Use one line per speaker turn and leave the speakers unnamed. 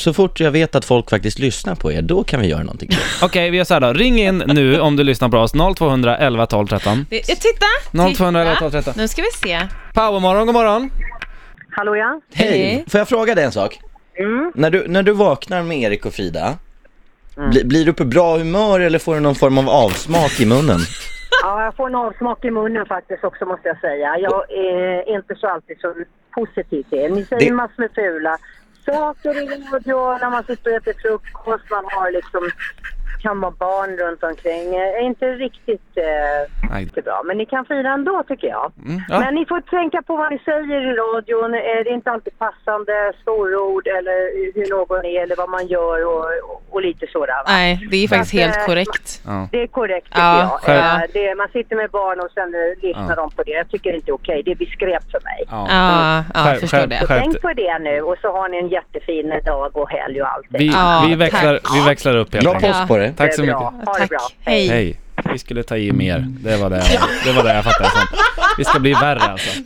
så fort jag vet att folk faktiskt lyssnar på er, då kan vi göra någonting.
Okej, vi gör så här då. Ring in nu om du lyssnar på oss. 0200 11 12 13.
Det, jag titta!
0200 11 12
Titta.
13.
Nu ska vi se.
Powermorgon, god morgon.
Hallå ja.
Hej! Får jag fråga dig en sak? När, du, när du vaknar med Erik och Frida, bli, blir du på bra humör eller får du någon form av avsmak i munnen?
ja, jag får en avsmak i munnen faktiskt också måste jag säga. Jag är inte så alltid så positiv till er. Ni säger
Det-
massor med fula saker i radio när man sitter och äter frukost. Man har liksom, kan vara barn runt omkring. Eh, är inte riktigt eh,
Nej. Mm,
inte bra. Men ni kan fira ändå tycker jag.
ja.
Men ni får tänka på vad ni säger i radion. Eh, Det är inte alltid passande storord eller hur någon är eller vad man gör och, och, och lite sådär. va?
Nej, det är faktiskt
Men,
helt
eh,
korrekt.
Ja.
Det är korrekt tycker
Ja,
jag.
själv-
Eh, Det, man sitter med barn och sen eh, lyssnar
Ja.
de på det. Jag tycker det inte är okej. Det är diskret för mig.
Ja.
Ja, ja,
Skärp-
jag förstår
skärp-
det.
skärp dig.
Tänk på det nu och så har ni en jättefin dag och helg och allt.
Vi,
Ja,
vi, växlar,
tack.
vi växlar upp helt
Glad
enkelt.
påsk på dig.
Tack så
Det är
mycket.
bra. Ha det
Tack.
bra.
Hej.
Hej. Vi skulle ta i mer. Det var det, jag- det, var det jag fattade som. Vi ska bli värre alltså.